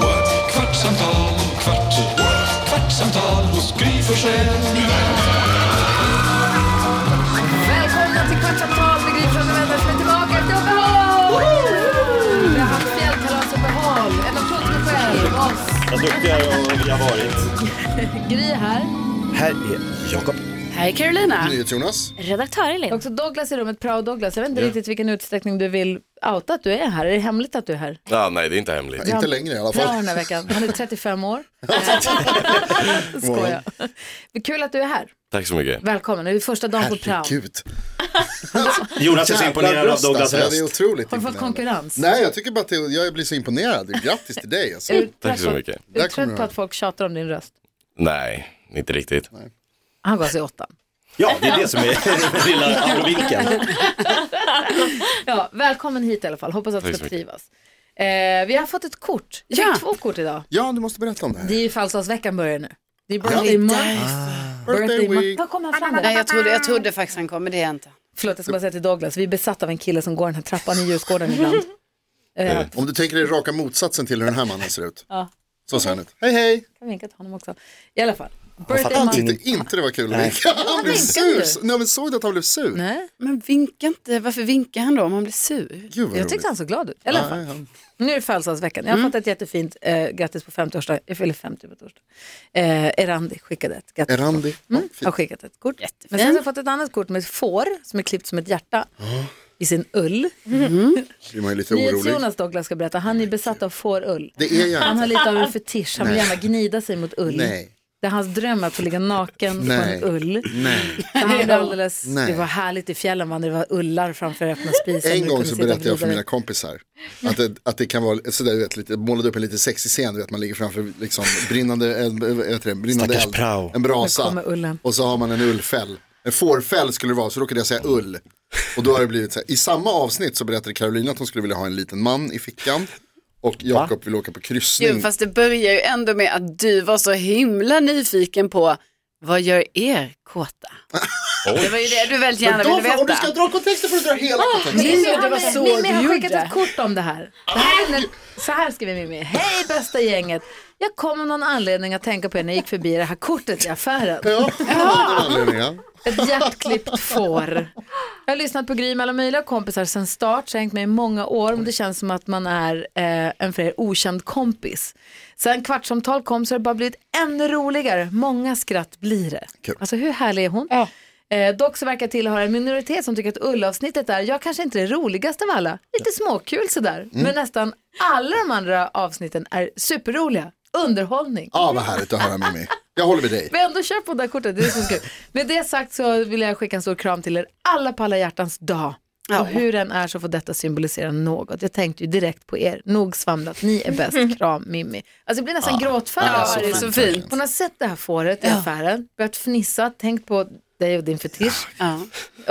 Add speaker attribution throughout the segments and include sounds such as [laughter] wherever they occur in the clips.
Speaker 1: what? kvartsamtal, kvart, what? kvartsamtal hos Gry Forssell med vänner.
Speaker 2: Välkomna till Kvartsamtal med Gry Forssell med vänner som är tillbaka efter uppehåll! Vi har haft fjällkalasuppehåll. En applåd till dig själv, oss.
Speaker 3: Vad duktiga vi har varit.
Speaker 2: Gry här.
Speaker 3: Här är Jakob.
Speaker 4: Hej Carolina!
Speaker 5: Jonas.
Speaker 4: Redaktör Elin.
Speaker 2: Också Douglas i rummet, Prao Douglas. Jag vet inte riktigt vilken utsträckning du vill outa att du är här. Är det hemligt att du är här?
Speaker 5: Ja, Ah, nej, det är inte hemligt.
Speaker 2: Ja.
Speaker 5: Inte längre i alla
Speaker 2: Prao
Speaker 5: fall.
Speaker 2: den här veckan. Han är
Speaker 5: [laughs]
Speaker 2: 35 år. Skojar. Men Kul att du är här.
Speaker 5: Tack så mycket.
Speaker 2: Välkommen. Det är första dagen på Prao.
Speaker 5: Herregud.
Speaker 3: Jonas är så
Speaker 5: Jävla
Speaker 3: imponerad av
Speaker 5: bröst,
Speaker 3: Douglas
Speaker 5: alltså. Ja, det är
Speaker 3: röst.
Speaker 5: otroligt
Speaker 2: Har du fått
Speaker 5: imponerande.
Speaker 2: konkurrens?
Speaker 5: Nej, jag tycker bara att det- jag blir så imponerad. Grattis till dig. Alltså.
Speaker 2: Är du trött
Speaker 6: Tack så
Speaker 2: på-
Speaker 6: mycket.
Speaker 2: Är du
Speaker 5: Där kommer
Speaker 2: trött på
Speaker 5: jag.
Speaker 2: att folk tjatar om din röst?
Speaker 6: Nej, inte riktigt.
Speaker 2: Han gav sig åttan.
Speaker 3: Ja, det är det som är lilla abrovinkeln.
Speaker 2: Ja, välkommen hit i alla fall. Hoppas att du
Speaker 6: Tack
Speaker 2: ska
Speaker 6: så mycket.
Speaker 2: trivas. Eh, vi har fått ett kort. Jag
Speaker 4: Ja.
Speaker 2: fick två kort idag.
Speaker 5: Ja, du måste berätta om det här.
Speaker 2: Det är ju Falstadsveckan börjar nu. Det är birthday month. Birthday
Speaker 5: Birthday
Speaker 2: month.
Speaker 5: week.
Speaker 2: Var kom han fram
Speaker 4: Nej,
Speaker 2: där?
Speaker 4: jag trodde, jag trodde faktiskt han kom, men det är jag inte.
Speaker 2: Förlåt, jag ska bara säga till Douglas. Vi är besatta av en kille som går den här trappan i Djurgården [laughs] ibland. Eh,
Speaker 5: Om du tänker dig raka motsatsen till hur den här mannen ser ut. Så ser han ut. Hej, hej.
Speaker 2: kan vinka till honom också. I alla fall. Birthday
Speaker 5: Han
Speaker 2: month.
Speaker 5: tyckte inte det var kul att vinka. Han blev
Speaker 2: vinkar Mm. du?
Speaker 5: sur. Nej, men såg du att han blev sur?
Speaker 2: Nej,
Speaker 4: Men vinka inte, varför vinkar han då om han blir sur?
Speaker 5: Gud vad
Speaker 2: jag
Speaker 5: roligt.
Speaker 2: tyckte han såg glad ut. I alla fall. Nu är det födelsedagsveckan. Jag har
Speaker 5: Mm.
Speaker 2: fått ett jättefint eh, grattis på 50-årsdagen. Jag fyller 50 på torsdag. Eh, Erandi skickade ett grattis. Mm,
Speaker 5: Erandi. Ja,
Speaker 2: har
Speaker 5: fint.
Speaker 2: skickat ett kort.
Speaker 4: Jättefint.
Speaker 2: Men sen har jag fått ett annat kort med ett får som är klippt som ett hjärta i sin ull. [laughs]
Speaker 5: Blir man ju lite Mm. orolig.
Speaker 2: Nyhets-Jonas Douglas ska berätta, han är besatt av fårull.
Speaker 5: Det är jag
Speaker 2: Han har
Speaker 5: inte.
Speaker 2: lite av en fetisch, han vill gärna gnida sig mot ull.
Speaker 5: Nej.
Speaker 2: Det är hans dröm att få ligga naken på
Speaker 5: Nej.
Speaker 2: en ull.
Speaker 5: Nej.
Speaker 2: Så [laughs] Han blev alldeles,
Speaker 5: Nej.
Speaker 2: det var härligt i fjällen, man. det var ullar framför öppna spisen.
Speaker 5: En
Speaker 2: Du
Speaker 5: gång
Speaker 2: kunde
Speaker 5: så
Speaker 2: sitta och
Speaker 5: berättade jag för
Speaker 2: glida
Speaker 5: mina kompisar att det, att det kan vara sådär, du vet, lite, målade upp en lite sexig scen, du vet, man ligger framför liksom, brinnande, en, vad heter det, brinnande
Speaker 3: Stackars
Speaker 5: eld,
Speaker 3: prao.
Speaker 5: en
Speaker 2: Där kommer
Speaker 5: brasa
Speaker 2: ullen.
Speaker 5: och så har man en ullfäll. En fårfäll skulle det vara, så råkade jag säga ull. Och då har det blivit så här. I samma avsnitt så berättade Carolina att hon skulle vilja ha en liten man i fickan. Och Jakob vill åka på kryssning.
Speaker 4: Gud, fast det börjar ju ändå med att du var så himla nyfiken på vad gör er
Speaker 5: [laughs]
Speaker 4: kåta? Det var ju det du väldigt gärna ville
Speaker 5: Då, om du
Speaker 4: veta.
Speaker 5: ska dra kontexten får du dra hela kontexten.
Speaker 2: Nej,
Speaker 4: Mimmi,
Speaker 2: så
Speaker 4: det var
Speaker 2: här-
Speaker 4: så
Speaker 2: Mimmi
Speaker 4: du
Speaker 2: har skickat
Speaker 4: gjorde.
Speaker 2: ett kort om det här. Det här är när, så här skriver Mimmi. Hej bästa gänget. Jag kom av någon anledning att tänka på er när jag gick förbi det här kortet i affären.
Speaker 5: Ja, av den anledningen.
Speaker 2: Ett hjärtklippt får. Jag har lyssnat på Gry med alla möjliga kompisar sedan start, så jag har hängt med i många år, men det känns som att man är eh, en för er okänd kompis. Sen kvartssamtal kom så har det bara blivit ännu roligare. Många skratt blir det.
Speaker 5: Kul.
Speaker 2: Alltså hur härlig är hon? Eh, dock så verkar jag tillhöra en minoritet som tycker att ullavsnittet är, jag kanske inte är det roligaste av alla, lite småkul sådär, men nästan alla de andra avsnitten är superroliga. Underhållning.
Speaker 5: Ja, Ah, vad härligt att höra Mimmi. Jag håller med dig.
Speaker 2: Vi har ändå köpt på det här kortet, det är så skoj. Med det sagt så vill jag skicka en stor kram till er alla på alla hjärtans dag.
Speaker 4: Ja.
Speaker 2: Och hur den är så får detta symbolisera något. Jag tänkte ju direkt på er, nog svamlat, ni är bäst, kram Mimmi. Alltså jag blir nästan gråtfärdig.
Speaker 5: Ja,
Speaker 2: av
Speaker 4: Mm. Ja, det är så fint.
Speaker 2: Hon har sett det här fåret i affären, börjat fnissa, tänkt på dig och din fetisch.
Speaker 4: Ja.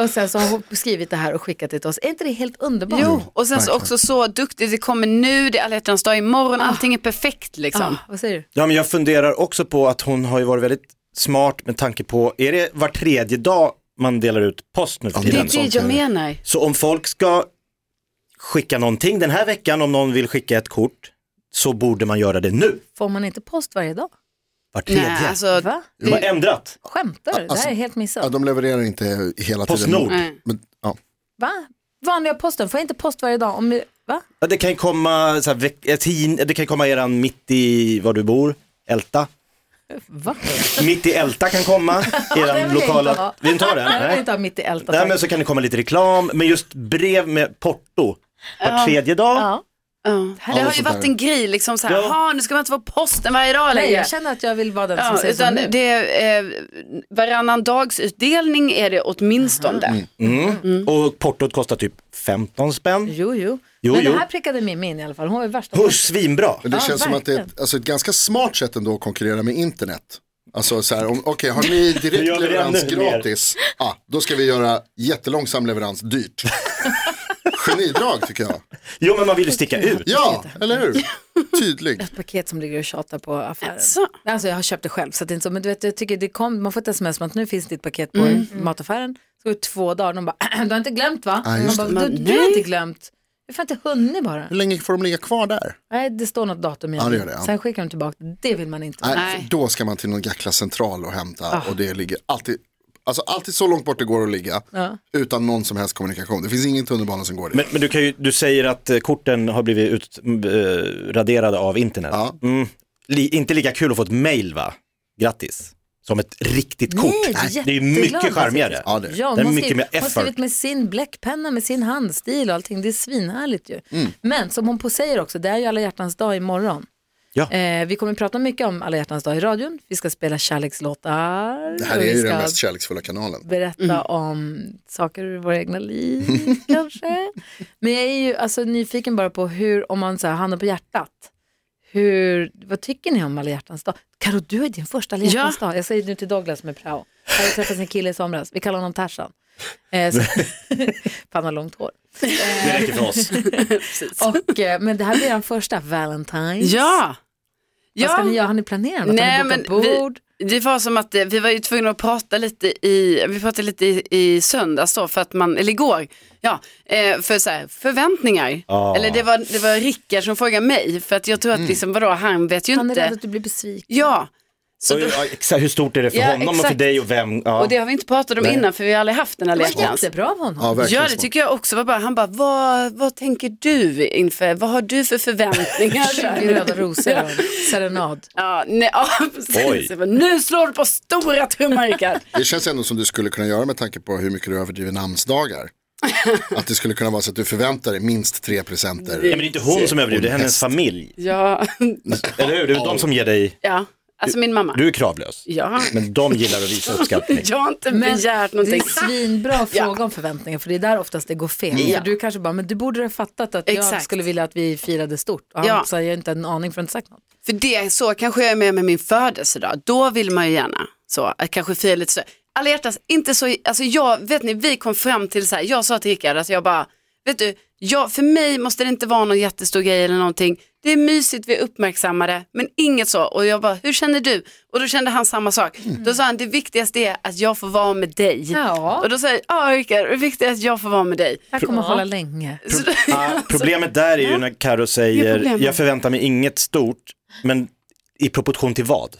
Speaker 2: Och sen så har hon skrivit det här och skickat det till oss. Är inte det helt underbart?
Speaker 4: Jo, och sen så också så duktig, det kommer nu, det är alla hjärtans dag imorgon, allting är perfekt
Speaker 2: Ja,
Speaker 4: liksom.
Speaker 2: vad säger du?
Speaker 3: Ja, men jag funderar också på att hon har ju varit väldigt smart med tanke på, är det var tredje dag man delar ut post nu för
Speaker 4: Det är
Speaker 3: tiden?
Speaker 4: det jag menar.
Speaker 3: Så om folk ska skicka någonting den här veckan, om någon vill skicka ett kort, så borde man göra det nu,
Speaker 2: Får man inte post varje dag?
Speaker 3: var tredje.
Speaker 4: Nej, alltså,
Speaker 2: Va?
Speaker 3: De har ändrat.
Speaker 2: Skämtar du? det här är helt missat.
Speaker 5: Ja, de levererar inte hela tiden.
Speaker 3: Postnord.
Speaker 4: Nej.
Speaker 5: Men, ja.
Speaker 2: Va? Vanliga posten, får jag inte post varje dag? Om, va?
Speaker 3: Ja, det kan ju komma, så här, veck- eh, tin- det kan komma eran mitt i var du bor,
Speaker 4: [laughs]
Speaker 3: Älta.
Speaker 2: Va?
Speaker 3: Mitt i Älta kan komma,
Speaker 2: den
Speaker 3: eran
Speaker 2: vill jag inte
Speaker 3: lokala,
Speaker 2: ha.
Speaker 3: vill du inte ha den?
Speaker 2: Nej, jag vill
Speaker 3: Nej.
Speaker 2: inte ha mitt i ältat.
Speaker 3: Nej men så kan det komma lite reklam, men just brev med porto var tredje dag.
Speaker 2: ja.
Speaker 4: ja. det har ju varit en grej liksom så här,
Speaker 3: Ja.
Speaker 4: "Jaha, nu ska man inte vara på posten varje dag
Speaker 2: Nej,
Speaker 4: längre.
Speaker 2: jag känner att jag vill vara den som
Speaker 4: Ja,
Speaker 2: säger så
Speaker 4: utan
Speaker 2: nu.
Speaker 4: det är, eh, varannan dags
Speaker 2: Mm.
Speaker 3: Mm.
Speaker 4: utdelning är det åtminstone. Mm.
Speaker 3: Och portot kostar typ 15 spänn.
Speaker 2: Jo, jo.
Speaker 3: Jo,
Speaker 2: Men
Speaker 3: jo.
Speaker 2: det här prickade Mimmi in i alla fall. Hon var värst.
Speaker 3: Hon är svinbra.
Speaker 5: Men det
Speaker 2: Ja,
Speaker 5: känns som att det är ett,
Speaker 2: verkligen.
Speaker 5: alltså ett ganska smart sätt ändå att konkurrera med internet. Alltså så här, om- okej, har ni
Speaker 3: Nu gör
Speaker 5: direkt
Speaker 3: [laughs] vi det
Speaker 5: leverans
Speaker 3: ännu mer.
Speaker 5: gratis, ah, då ska vi göra jättelångsam leverans
Speaker 3: [laughs]
Speaker 5: dyrt. Genidrag tycker jag.
Speaker 3: Jo, men man vill ju sticka ut.
Speaker 5: Ja, eller hur? Tydlig.
Speaker 2: [laughs] Ett paket som ligger och tjatar på affären.
Speaker 4: Så.
Speaker 2: Alltså jag har köpt det själv så att det är inte så. Men du vet, jag tycker det kom, man får ett sms om att nu finns ditt paket
Speaker 4: Mm.
Speaker 2: på Mm. mataffären. Så går det två dagar och de bara, [clears throat] du har inte glömt va?
Speaker 5: Ja, just
Speaker 2: man
Speaker 4: det.
Speaker 2: bara, du,
Speaker 4: Men
Speaker 2: du har
Speaker 4: nej.
Speaker 2: inte glömt. Du har inte hunnit bara.
Speaker 5: Hur länge får de ligga kvar där?
Speaker 2: Nej, det står något datum i
Speaker 5: Ja, det
Speaker 2: den.
Speaker 5: gör det, ja.
Speaker 2: Sen skickar de tillbaka, det vill man inte.
Speaker 5: Nej,
Speaker 4: Nej.
Speaker 5: för Då ska man till någon jäkla central och hämta
Speaker 2: Ah.
Speaker 5: och det ligger alltid, alltså alltid så långt bort det går att ligga
Speaker 2: Ja.
Speaker 5: utan någon som helst kommunikation. Det finns ingen tunnelbana som går dit.
Speaker 3: Men, men du, kan ju, du säger att eh, korten har blivit utraderade av internet.
Speaker 5: Ja.
Speaker 3: Mm. Li, inte lika kul att få ett mail va? Grattis. Som ett riktigt kort.
Speaker 2: Nej,
Speaker 3: det är ju
Speaker 2: jätteglad.
Speaker 3: mycket charmigare.
Speaker 5: Ja, det.
Speaker 2: Ja,
Speaker 3: Det är
Speaker 2: hon har
Speaker 3: mycket
Speaker 2: skrivit-
Speaker 3: mer
Speaker 2: hon har
Speaker 3: effort.
Speaker 2: skrivit med sin bläckpenna, med sin handstil och allting. Det är svinhärligt ju.
Speaker 3: Mm.
Speaker 2: Men som hon på säger också, det är ju alla hjärtans dag imorgon.
Speaker 3: Ja.
Speaker 2: Eh, vi kommer prata mycket om alla hjärtans dag i radion. Vi ska spela kärlekslåtar.
Speaker 5: Det här
Speaker 2: och
Speaker 5: är
Speaker 2: vi
Speaker 5: ju
Speaker 2: ska
Speaker 5: den mest kärleksfulla kanalen.
Speaker 2: berätta
Speaker 4: Mm.
Speaker 2: om saker ur våra egna liv
Speaker 4: [laughs]
Speaker 2: kanske. Men jag är ju alltså nyfiken bara på hur, om man så här, handen på hjärtat, hur, vad tycker ni om alla hjärtans dag? Karo, du är din första alla hjärtans dag. Jag säger nu till Douglas som är prao. Jag har träffat sin kille i somras, vi kallar honom Tarzan. Eh,
Speaker 4: [laughs]
Speaker 2: så- för han har långt hår.
Speaker 3: Det räcker för oss.
Speaker 2: [laughs] Och, eh, men det här blir den första, Valentine's.
Speaker 4: Ja.
Speaker 2: Vad ska
Speaker 4: Ja.
Speaker 2: ni göra? Har ni planerat något?
Speaker 4: Nej,
Speaker 2: har ni
Speaker 4: men
Speaker 2: bokat
Speaker 4: vi,
Speaker 2: bord?
Speaker 4: det var som att eh, vi var ju tvungna att prata lite i, vi pratade lite i, i söndags då, för att man, eller igår, ja, eh, för så här, förväntningar.
Speaker 3: Ja.
Speaker 4: Eller det var, det var Rickard som frågade mig, för att jag tror att liksom, vadå, han vet ju
Speaker 2: Han är
Speaker 4: inte.
Speaker 2: rädd att du blir besviken.
Speaker 4: Ja, så då,
Speaker 3: Ja,
Speaker 4: [laughs]
Speaker 3: Exakt, hur stort är det för
Speaker 4: Ja,
Speaker 3: honom och för
Speaker 4: exakt.
Speaker 3: dig och vem? Ja.
Speaker 4: och det har vi inte pratat om innan, för vi har aldrig haft den här
Speaker 2: Det var
Speaker 4: leken.
Speaker 2: jättebra av honom.
Speaker 5: Ja, verkligen.
Speaker 4: Ja, det
Speaker 5: smart.
Speaker 4: tycker jag också var bra. Han bara, vad, vad tänker du inför, vad har du
Speaker 2: [laughs]
Speaker 4: för
Speaker 2: Tjugo
Speaker 4: förväntningar?
Speaker 2: röda rosor och serenad.
Speaker 4: ja, nej, [laughs] ja, precis.
Speaker 3: Oj.
Speaker 4: Men Nu slår du på stora trumman, Rickard.
Speaker 5: Det känns ändå som du skulle kunna göra med tanke på hur mycket du överdriver
Speaker 3: [laughs]
Speaker 5: namnsdagar. Att det skulle kunna vara så att du förväntar dig minst tre
Speaker 3: Nej,
Speaker 5: presenter.
Speaker 3: men det är inte hon som överdriver, det är hennes familj.
Speaker 4: ja,
Speaker 3: [laughs] Eller hur? Det är de som ger dig,
Speaker 4: ja, alltså min mamma.
Speaker 3: du är kravlös.
Speaker 4: Ja,
Speaker 3: Men de gillar att visa uppskattning.
Speaker 4: [laughs] jag har inte begärt någonting.
Speaker 2: Det är svinbra att fråga om förväntningar för det är där oftast det går fel.
Speaker 4: Ja.
Speaker 2: För du kanske bara, men du borde ha fattat att jag
Speaker 4: Exakt.
Speaker 2: skulle vilja att vi firade stort. Och han
Speaker 4: Ja.
Speaker 2: sa, jag har inte en aning för att inte sagt något.
Speaker 4: För det, så kanske jag är med med min födelsedag. Då vill man ju gärna så, att kanske fira lite så. Alla hjärtas, inte så, alltså jag, vet ni, vi kom fram till så här, jag sa till Rickard att jag bara, vet du, jag, för mig måste det inte vara någon jättestor grej eller någonting. Det är mysigt, vi uppmärksammar det, men inget så. Och jag bara, hur känner du? Och då kände han samma sak. Då sa han, det viktigaste är att jag får vara med dig.
Speaker 2: Ja.
Speaker 4: Och då sa jag, ja Rickard, det viktigaste är att jag får vara med dig.
Speaker 2: Jag kommer hålla länge.
Speaker 4: Så,
Speaker 3: Ah, problemet där är ju när Karo
Speaker 4: Det är
Speaker 3: säger,
Speaker 4: problemet.
Speaker 3: jag förväntar mig inget stort, men i proportion till vad?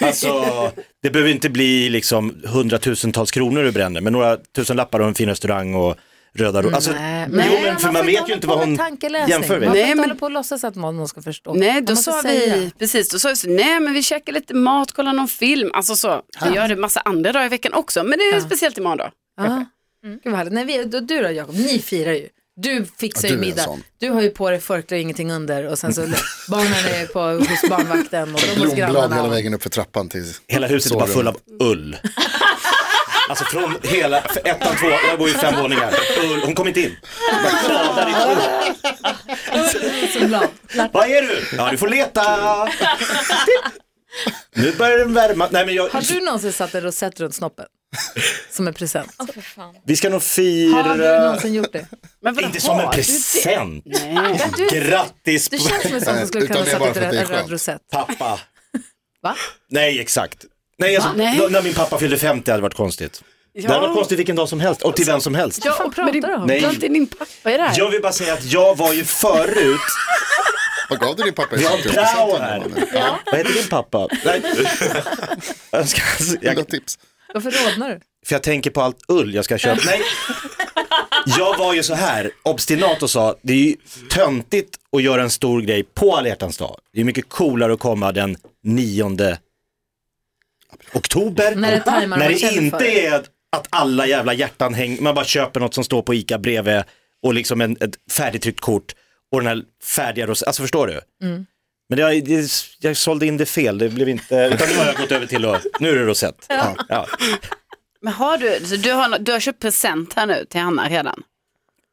Speaker 3: Alltså, det behöver inte bli liksom hundratusentals kronor du bränner, men några tusen lappar och en fin restaurang och röda ro- alltså,
Speaker 2: Nej,
Speaker 3: Jo, men för man
Speaker 2: får
Speaker 3: vet ju
Speaker 2: hålla
Speaker 3: inte
Speaker 2: på
Speaker 3: vad
Speaker 2: med
Speaker 3: hon
Speaker 2: tankeläsning.
Speaker 3: jämför
Speaker 2: Man
Speaker 3: med.
Speaker 2: får
Speaker 4: Nej,
Speaker 2: inte
Speaker 4: men-
Speaker 2: hålla på och låtsas att någon ska förstå.
Speaker 4: Nej, då
Speaker 2: Man måste
Speaker 4: sa
Speaker 2: säga. "Mm,
Speaker 4: vi, precis, då sa vi så, nej men vi käkar lite mat, kollar någon film, alltså så. Vi gör det massa andra dagar i veckan också, men det är speciellt imorgon då.
Speaker 2: Ja. Mm. Gud vad härligt. Nej, vi, då- du då Jakob, ni firar ju. Du
Speaker 5: Ja, du
Speaker 2: fixar
Speaker 5: är
Speaker 2: ju
Speaker 5: en
Speaker 2: middag.
Speaker 5: sån.
Speaker 2: Du har ju på dig förkläde och ingenting under och sen så barnen är på, hos barnvakten och då hos
Speaker 5: Blomblad
Speaker 2: grannarna.
Speaker 5: hela vägen upp för trappan till
Speaker 3: hela huset är bara
Speaker 5: sovrummet.
Speaker 3: full av ull. Alltså från hela, för ettan, två, jag bor ju fem våningar, ull, hon kom inte in. Bara kladar i ull.
Speaker 2: Som blad.
Speaker 3: Vad är du? Ja, du får leta. Nu börjar den värma. Nej, men jag,
Speaker 2: Har du någonsin satt en rosett runt snoppen? Som en present.
Speaker 3: vi ska nog
Speaker 2: Har du
Speaker 3: fira,
Speaker 2: någonsin gjort det?
Speaker 4: Men vadå,
Speaker 3: inte som en
Speaker 4: har du det?
Speaker 3: present.
Speaker 4: Nej.
Speaker 2: Du,
Speaker 3: Grattis
Speaker 2: du känns som en sån som skulle kunna
Speaker 5: Utan det är bara för
Speaker 2: sätta
Speaker 5: att
Speaker 2: en
Speaker 5: det är
Speaker 2: röd- en röd
Speaker 5: skönt.
Speaker 2: rosett.
Speaker 3: pappa.
Speaker 2: [laughs] Va?
Speaker 3: Nej, exakt. Nej, alltså,
Speaker 4: Nej.
Speaker 3: då- när min pappa fyllde 50 hade det varit konstigt. Det hade varit konstigt vilken dag som helst och till vem som helst.
Speaker 2: Vad fan
Speaker 4: och- men det-
Speaker 2: pratar du om?
Speaker 3: Nej.
Speaker 4: Det är alltid din pappa i det här.
Speaker 3: Jag vill bara säga att jag var ju förut,
Speaker 5: Vad gav du din pappa i
Speaker 3: vi har en prao här.
Speaker 5: present?
Speaker 3: Vad heter din pappa? Nej. Jag, ska, jag,
Speaker 5: Goda tips.
Speaker 2: Varför rodnar du?
Speaker 3: för jag tänker på allt ull jag ska köpa. Nej. [laughs] Jag var ju så här obstinat och sa, det är ju töntigt att göra en stor grej på alla hjärtans dag. Det är mycket coolare att komma den 9 oktober.
Speaker 2: När det tajmar och
Speaker 3: När
Speaker 2: man
Speaker 3: det
Speaker 2: känner för
Speaker 3: inte
Speaker 2: det.
Speaker 3: är att alla jävla hjärtan hänger, man bara köper något som står på ICA bredvid och liksom en, ett färdigtryckt kort och den här färdiga ros- alltså förstår du?
Speaker 2: Mm.
Speaker 3: Men jag, det, jag sålde in det fel, det blev inte, utan nu har jag gått över till att, nu är det rosett. Ja.
Speaker 4: Men har du, så du, har, no- du har köpt present här nu till Hanna redan?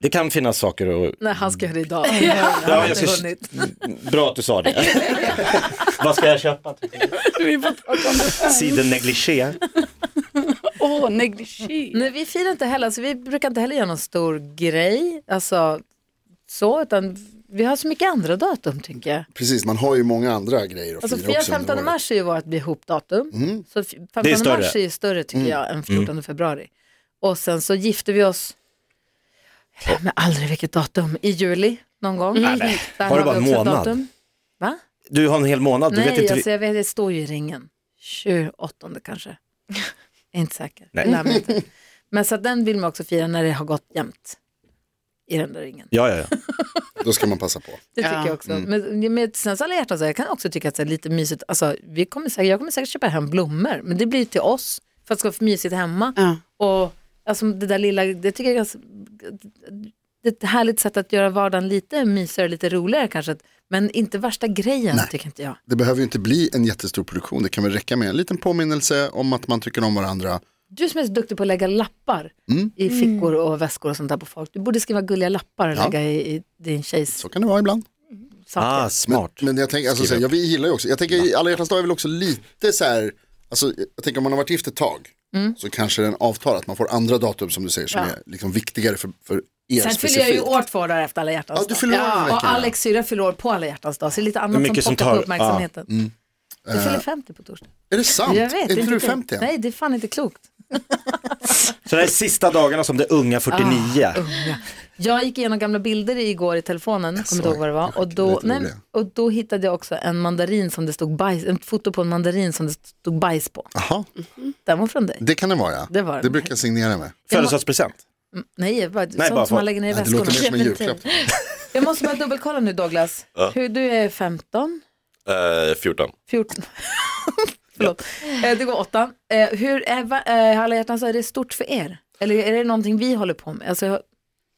Speaker 3: Det kan finnas saker att...
Speaker 2: Nej, han ska göra det idag. ja, han
Speaker 3: jag
Speaker 2: har
Speaker 3: ska-
Speaker 2: vunnit.
Speaker 3: Bra att du sa det. Vad ska jag köpa?
Speaker 4: Vi får prata om det.
Speaker 3: Sidennegligé.
Speaker 4: Åh, negligé.
Speaker 2: Nej, vi firar inte heller, alltså, vi brukar inte heller göra någon stor grej, alltså så, utan vi har så mycket andra datum tycker jag.
Speaker 5: Precis, man har ju många andra grejer att
Speaker 2: Alltså
Speaker 5: fira också.
Speaker 2: 15
Speaker 5: under året.
Speaker 2: mars är ju vårt ihopdatum, så f- 15
Speaker 3: Mm. Det är större. Mm.
Speaker 2: mars är ju större tycker jag än 14 februari. Och sen så gifte vi oss, jag glömmer aldrig vilket datum, i juli någon gång. Där
Speaker 3: Har du bara
Speaker 2: vi också ett
Speaker 3: månad?
Speaker 2: datum. Va?
Speaker 3: Du har en hel månad, du
Speaker 2: Nej,
Speaker 3: vet inte...
Speaker 2: alltså, jag vet, det står ju i ringen. 28 kanske.
Speaker 3: [laughs]
Speaker 2: Jag är inte säker.
Speaker 3: Nej.
Speaker 2: Jag lär mig inte. Men så att den vill man också fira när det har gått jämnt i den där ringen.
Speaker 3: Ja, ja, ja.
Speaker 5: Då ska man passa på.
Speaker 2: Det tycker
Speaker 4: Ja.
Speaker 2: jag
Speaker 5: mm.
Speaker 2: också. Men med sen så alla hjärtan så här, jag kan också tycka att det är lite mysigt. Alltså, vi kommer säkert, jag kommer säkert köpa hem blommor, men det blir ju till oss för att det ska vara för mysigt hemma.
Speaker 4: Ja.
Speaker 2: Och alltså, det där lilla, det tycker jag är ganska, det är ett härligt sätt att göra vardagen lite mysigare, lite roligare kanske. Men inte värsta grejen tycker inte jag.
Speaker 5: Det behöver ju inte bli en jättestor produktion. Det kan väl räcka med en liten påminnelse om att man tycker om varandra.
Speaker 2: Du som är så duktig på att lägga lappar
Speaker 5: Mm.
Speaker 2: i fickor och väskor och sånt där på folk. Du borde skriva gulliga lappar och
Speaker 5: Ja.
Speaker 2: lägga i, i din tjejs
Speaker 5: Så kan det vara ibland.
Speaker 2: saker.
Speaker 3: Ah, smart.
Speaker 5: Men jag tänker, alltså, så här, jag, vi gillar ju också, jag tänker alla hjärtans dag är väl också lite så här, alltså, jag tänker om man har varit gift ett tag,
Speaker 2: Mm.
Speaker 5: så kanske den avtar att man får andra datum som du säger som är liksom viktigare för, för er
Speaker 2: Sen fyller
Speaker 5: specifikt.
Speaker 2: jag ju år två dagar efter alla hjärtans
Speaker 5: Ja, du fyller år den
Speaker 2: dag.
Speaker 5: veckan,
Speaker 2: Och
Speaker 5: ja.
Speaker 2: Alex syrra fyller år på alla hjärtans dag. Så det är lite
Speaker 3: Det är
Speaker 2: annat
Speaker 3: mycket
Speaker 2: som
Speaker 3: som
Speaker 2: pockar på
Speaker 3: tar- Mm.
Speaker 2: uppmärksamheten. Du fyller 50 på torsdag.
Speaker 5: Är det sant?
Speaker 2: Jag vet.
Speaker 5: Eh, är inte
Speaker 2: inte
Speaker 5: du
Speaker 2: klokt.
Speaker 5: 50 än?
Speaker 2: Nej, det är fan inte klokt.
Speaker 3: Så det här är sista dagarna som det unga 49.
Speaker 2: Jag gick igenom gamla bilder igår i telefonen, kommer inte ihåg vad det var. Och då,
Speaker 5: lite
Speaker 2: nej,
Speaker 5: roliga.
Speaker 2: och då hittade jag också en mandarin som det stod bajs, en foto på en mandarin som det stod bajs på.
Speaker 5: Jaha,
Speaker 2: Den var från dig.
Speaker 5: det kan det vara ja.
Speaker 2: Det var det.
Speaker 5: det brukar jag signera med.
Speaker 3: Födelsedagspresent.
Speaker 2: Nej, bara sånt
Speaker 3: bara
Speaker 2: som
Speaker 3: för-
Speaker 2: man lägger ner i
Speaker 5: Det låter mer som
Speaker 2: väskorna.
Speaker 5: en julklapp.
Speaker 2: Jag måste bara dubbelkolla nu Douglas. Hur, du är 15,
Speaker 6: Eh, 14.
Speaker 2: 14. [laughs] Förlåt, Eh, det går åtta. Eh, Hur är va- eh, Alla hjärtans är det stort för er? Eller är det någonting vi håller på med? Alltså, jag-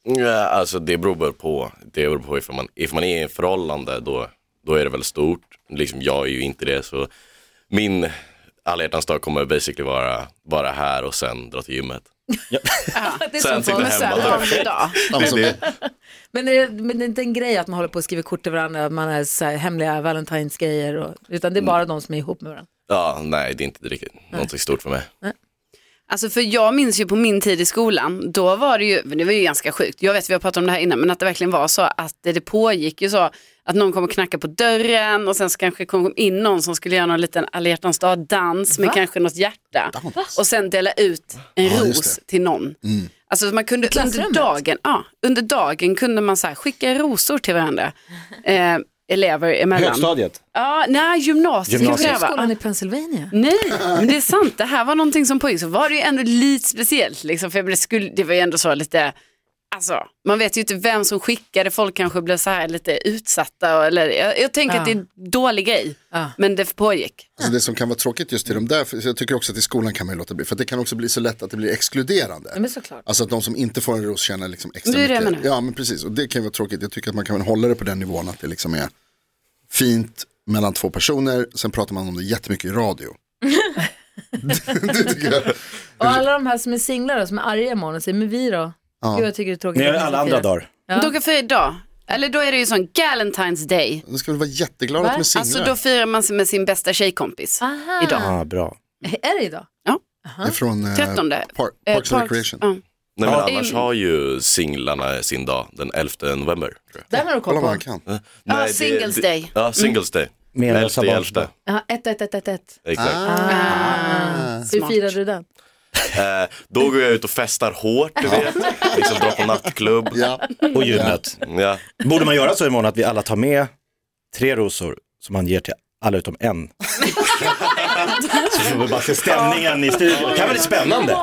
Speaker 6: Ja, alltså det beror bara på. Det beror på ifall man, ifall man är i ett förhållande då, då är det väl stort. Liksom, jag är ju inte det så min alla hjärtans dag kommer basically vara, vara här och sen dra till gymmet.
Speaker 2: det är
Speaker 6: Sen
Speaker 2: sånt som-
Speaker 6: sitter
Speaker 4: Men så här vanlig dag.
Speaker 5: Samma som
Speaker 2: men, är, det- men det är inte en grej att man håller på och skriver kort till varandra, man är så här, hemliga valentinesgrejer, och, utan det är bara de som är ihop med varandra.
Speaker 6: Ja, nej det är inte riktigt någonting stort för mig.
Speaker 4: Alltså för jag minns ju på min tid i skolan, då var det ju, men det var ju ganska sjukt, jag vet vi har pratat om det här innan, men att det verkligen var så att det, det pågick ju så att någon kom och knackade på dörren och sen så kanske kom in någon som skulle göra någon liten alla hjärtans dag-dans med kanske något hjärta och sen dela ut en ros till någon.
Speaker 3: Mm.
Speaker 4: Alltså man kunde under
Speaker 2: klassrummet?
Speaker 4: dagen, ja, under dagen kunde man så här skicka rosor till varandra, eh, elever emellan.
Speaker 3: Högstadiet.
Speaker 4: Ja, nej, gymnasiet,
Speaker 3: Gymnasiet.
Speaker 4: gymnasiet.
Speaker 2: Skolan i Pennsylvania.
Speaker 4: Nej, men det är sant. Det här var någonting som pågick. Så var det ju ändå lite speciellt. Liksom, för det, skulle, det var ju ändå så lite, alltså, man vet ju inte vem som skickade. Folk kanske blev så här lite utsatta. och- Eller, jag, jag tänker
Speaker 2: Ja.
Speaker 4: att det är en dålig grej,
Speaker 2: Ja.
Speaker 4: men det pågick.
Speaker 5: Alltså det som kan vara tråkigt just till de där, för jag tycker också att i skolan kan man ju låta bli, för det kan också bli så lätt att det blir exkluderande.
Speaker 2: Ja, men såklart.
Speaker 5: Alltså att de som inte får en ros känner liksom extra
Speaker 4: Det är det jag
Speaker 5: mycket.
Speaker 4: menar.
Speaker 5: Ja men precis, och det kan ju vara tråkigt. Jag tycker att man kan väl hålla det på den nivån att det liksom är fint mellan två personer, sen pratar man om det jättemycket i
Speaker 4: [laughs]
Speaker 5: radio. det tycker jag.
Speaker 2: Och alla de här som är singlar och som är arga imorgon och säger, men vi då? Gud, jag tycker det är tråkigt.
Speaker 3: Ni har
Speaker 2: att
Speaker 3: alla
Speaker 2: ska
Speaker 3: andra
Speaker 2: fira.
Speaker 3: dagar.
Speaker 4: Ja. Då kan fira idag. Eller då är det ju sån Galentine's Day.
Speaker 5: De ska väl vara jätteglada
Speaker 2: Va?
Speaker 5: att de är singlar.
Speaker 4: Alltså då firar man sig med sin bästa tjejkompis
Speaker 2: Aha.
Speaker 4: idag.
Speaker 3: Ah, bra.
Speaker 2: Är det idag?
Speaker 4: Ja.
Speaker 5: det är från eh,
Speaker 4: Trettonde.
Speaker 5: Par-
Speaker 4: Eh,
Speaker 5: Parks and Recreation.
Speaker 4: Ja.
Speaker 6: Nej men
Speaker 3: Ja.
Speaker 6: annars har ju singlarna sin dag den 11 november. Tror jag.
Speaker 2: Där har
Speaker 5: Kolla
Speaker 2: du koll
Speaker 5: vad
Speaker 2: på.
Speaker 5: han kan.
Speaker 6: Nej,
Speaker 4: Ja,
Speaker 6: det-
Speaker 4: Singles
Speaker 6: det-
Speaker 4: Day. Mm.
Speaker 6: Ja, singles day.
Speaker 3: Med Elsa
Speaker 6: Elfte i
Speaker 3: Barnsdag.
Speaker 6: elfte.
Speaker 2: Ja, ett, ett, ett, ett, ett.
Speaker 6: Exakt.
Speaker 2: Hur firade du den?
Speaker 6: Eh, då går jag ut och festar hårt, du vet. liksom drar på nattklubb.
Speaker 5: Ja.
Speaker 3: Och gymmet.
Speaker 6: Ja.
Speaker 3: Borde man göra så imorgon att vi alla tar med tre rosor som man ger till alla utom en? så får vi bara se stämningen i studion. Det kan vara lite spännande.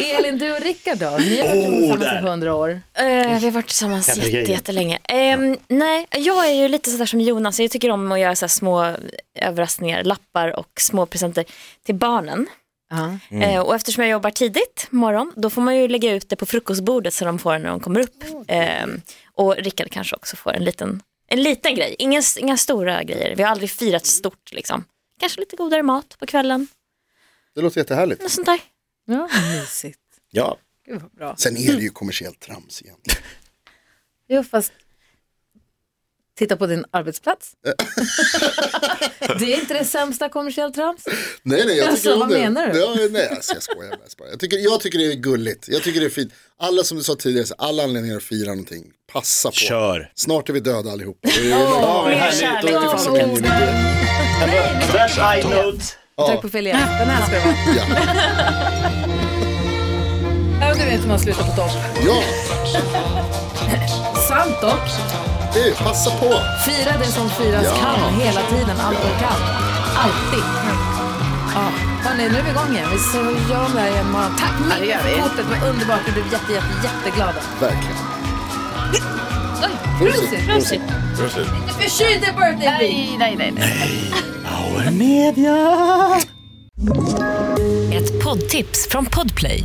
Speaker 2: Elin, du och Rickard då? Ni har varit tillsammans
Speaker 3: Oh, där.
Speaker 2: i hundra år.
Speaker 7: Eh, vi har varit tillsammans
Speaker 3: Jävla
Speaker 7: jätte,
Speaker 3: grejer.
Speaker 7: jättelänge. Ehm, nej, jag är ju lite sådär som Jonas. Jag tycker om att göra så här små överraskningar, lappar och små presenter till barnen.
Speaker 2: Ja.
Speaker 3: Mm.
Speaker 7: Eh, och eftersom jag jobbar tidigt morgon, då får man ju lägga ut det på frukostbordet så de får det när de kommer upp. Ehm, och Rickard kanske också får en liten, en liten grej. Inga, inga stora grejer. Vi har aldrig firat stort liksom. Kanske lite godare mat på kvällen.
Speaker 5: Det låter jättehärligt.
Speaker 7: Något sånt där.
Speaker 2: Ja, mysigt.
Speaker 3: Ja,
Speaker 2: Gud vad bra.
Speaker 5: Sen är det ju kommersiellt trams egentligen.
Speaker 2: Jo, fast titta på din arbetsplats.
Speaker 5: Eh.
Speaker 2: [laughs] det är inte det sämsta kommersiellt trams.
Speaker 5: Nej, nej, jag tycker
Speaker 2: Alltså,
Speaker 5: om
Speaker 2: vad
Speaker 5: det.
Speaker 2: menar du?
Speaker 5: Ja, nej, alltså, jag skojar mest bara. Jag tycker, jag tycker det är gulligt. Jag tycker det är fint. Alla som du sa tidigare, så alla anledningar att fira någonting, passa på.
Speaker 3: Kör.
Speaker 5: Snart är vi döda allihopa. Det är-
Speaker 7: Mer
Speaker 3: härligt.
Speaker 7: kärlek.
Speaker 5: Det finns ingen idé.
Speaker 3: Crash high note.
Speaker 2: Tack på fel igen. Den här ska det vara.
Speaker 5: Ja.
Speaker 2: Ja, du vet hur man slutar på topp.
Speaker 5: ja,
Speaker 2: Sant dock.
Speaker 5: det är, passa på.
Speaker 2: Fira det som firas
Speaker 5: Ja.
Speaker 2: kan hela tiden, allt och kan. Alltid. Ja, hörni, nu är vi igång igen. Vi så gör om det här igen imorgon. Tack
Speaker 4: det gör vi.
Speaker 2: Micke, kortet var underbart. Vi blev jätte, jätte, jätteglada.
Speaker 5: Verkligen.
Speaker 2: Oj, Frusit,
Speaker 7: Prosit.
Speaker 2: förkyld är birthday week.
Speaker 4: nej, nej, nej.
Speaker 8: Ett poddtips från Podplay.